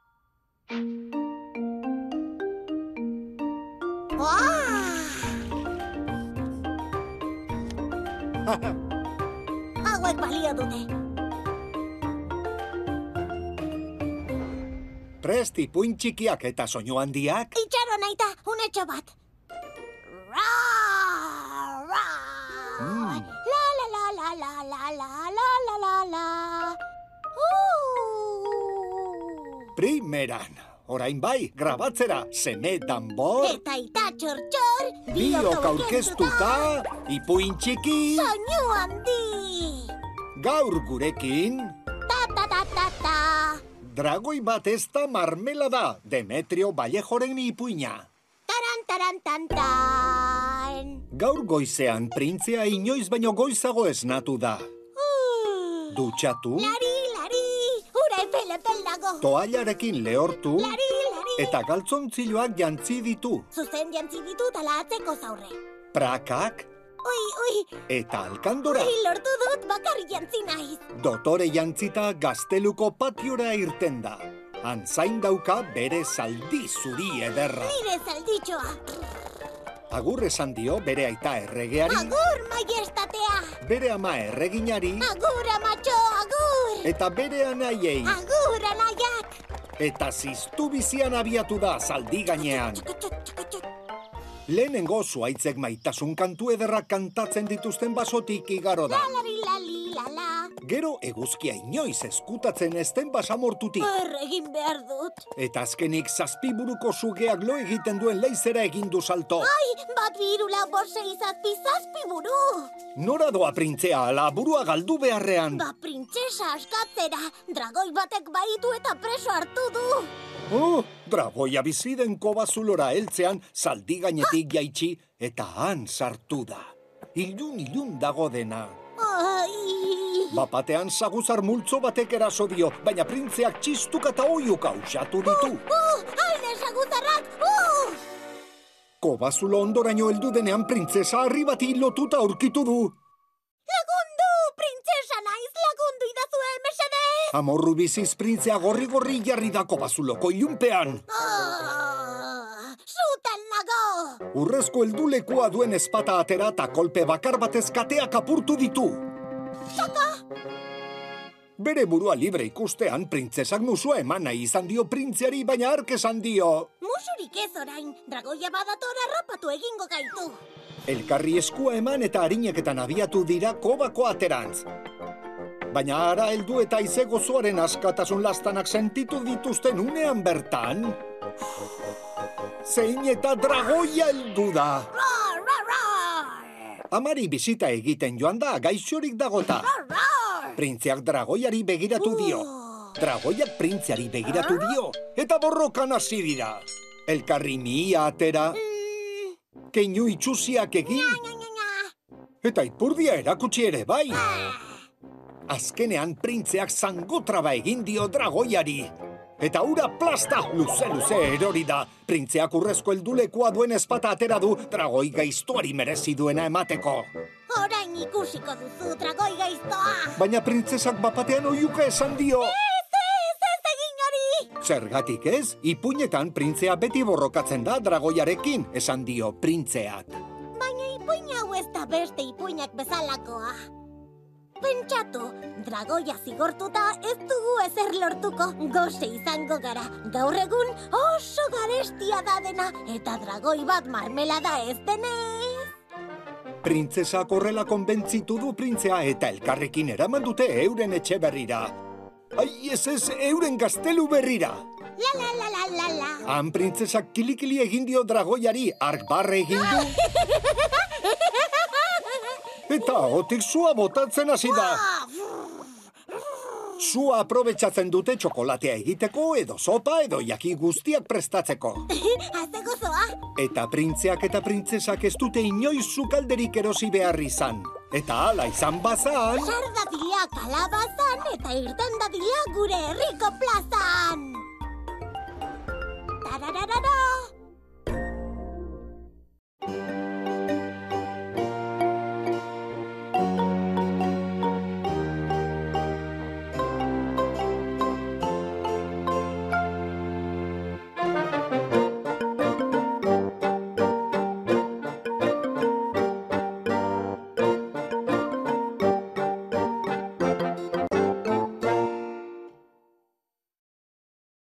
Ua! Ah. Hauek balio dute. Prest ipuin txikiak eta soinu handiak, Itxaro naita, unetxo bat. Ra, ra. Mm. La, la, la, la, la, la, la, la, la, la, la. Uh. primeran. Orain bai, grabatzera, seme danbor, Eta ita txortxor, biok aurkeztuta, ipuin txiki, Soinu handi! gaur gurekin, Ta, ta, ta, ta, ta. dragoi bat ez da marmelada, Demetrio Vallejoren ipuina. Taran, taran, tan, tan. Gaur goizean printzea inoiz baino goizago esnatu da. Uh. Dutxatu, Lari, lari, ura epel-epel dago. toallarekin lehortu, Lari, lari. eta galtzontzilloak jantzi ditu. Zuzen jantzi ditut ala atzeko zaurre. Prakak Ui, ui, eta alkandora. ui, lortu dut bakarrik jantzi naiz. Dotore jantzita gazteluko patiora irten da. Antzain dauka bere zaldi zuri ederra. Nire zalditxoa. Agur esan dio bere aita erregeari, Agur, maiestatea. bere ama erreginari, Agur, amatxo, agur. eta bere anaiei. Agur, anaiak. Eta ziztu bizian abiatu da zaldi gainean. Txuk, txuk, txuk, txuk. Lehenengo zuaitzek maitasun kantu ederra kantatzen dituzten basotik igaro da. Lalari, lali, lala. Gero eguzkia inoiz ezkutatzen ezten basamortutik. Ber egin behar dut. Eta azkenik zazpiburuko sugeak lo egiten duen leizera egin du salto. Ai, bat birula borse izazpi zazpi buru. Nora doa printzea ala burua galdu beharrean. Ba, printzesa askatzera. Dragoi batek baitu eta preso hartu du. Oh, dragoia biziden kobazulora heltzean zaldi gainetik jaitsi eta han sartu da. Ilun ilun dago dena. Ai. Bapatean saguzar multzo batek eraso dio, baina printzeak txistuka eta oiuka usatu ditu. Uh, hain ezagutarrak, uh! Kobazulo ondoraino heldu denean printzesa harri bati lotuta aurkitu du. Lagundu, printzesa naiz, lagundu idazue, mesedez! Amorru biziz printzea gorri-gorri jarri da kobazuloko ilunpean. Ah, Sutan nago! Urrezko heldulekua duen espata atera eta kolpe bakar batez kateak apurtu ditu. Bere burua libre ikustean, printzesak musua eman nahi izan dio printzeari, baina hark esan dio. Musurik ez orain, dragoia badator arrapatu egingo gaitu. Elkarri eskua eman eta harineketan abiatu dira kobako aterantz. Baina ara heldu eta ize gozoaren askatasun lastanak sentitu dituzten unean bertan... Zein eta dragoia heldu da! Roar, roar, roar! Amari bisita egiten joan da, gaixorik dagota. Roar, roar! Printzeak dragoiari begiratu dio. Uh. Dragoiak printzeari begiratu dio. Eta borrokan hasi dira. Elkarri mihia atera, Mm, keinu itxusiak egin, nya, nya, nya. eta ipurdia erakutsi ere bai. Ah, Azkenean printzeak zangotraba egin dio dragoiari. Eta ura plasta luze luze erori da. Printzeak urrezko heldulekoa duen espata atera du dragoi gaiztuari merezi duena emateko. Orain ikusiko duzu, dragoi gaiztoa! Baina printzesak bapatean oiuka esan dio. Ez, ez, ez egin hori! Zergatik ez, ipuinetan printzea beti borrokatzen da dragoiarekin, esan dio printzeak. Baina ipuin hau ez da beste ipuinak bezalakoa. Pentsatu, dragoia zigortuta ez dugu ezer lortuko goze izango gara. Gaur egun oso garestia da dena eta dragoi bat marmelada ez denez. Printzesak horrela konbentzitu du printzea eta elkarrekin eraman dute euren etxe berrira. Ai ez ez, euren gaztelu berrira! La la la la la la. Han printzesak kilikili egin dio dragoiari, ark barre egin du, eta otik sua botatzen hasi da. Ah, brr. Sua aprobetsatzen dute txokolatea egiteko edo sopa edo jaki guztiak prestatzeko. Haze gozoa. Eta printzeak eta printzesak ez dute inoiz sukalderik erosi behar izan. Eta hala izan bazan, Sar dadila kalabazan eta irten dadila gure herriko plazan. Tarararara,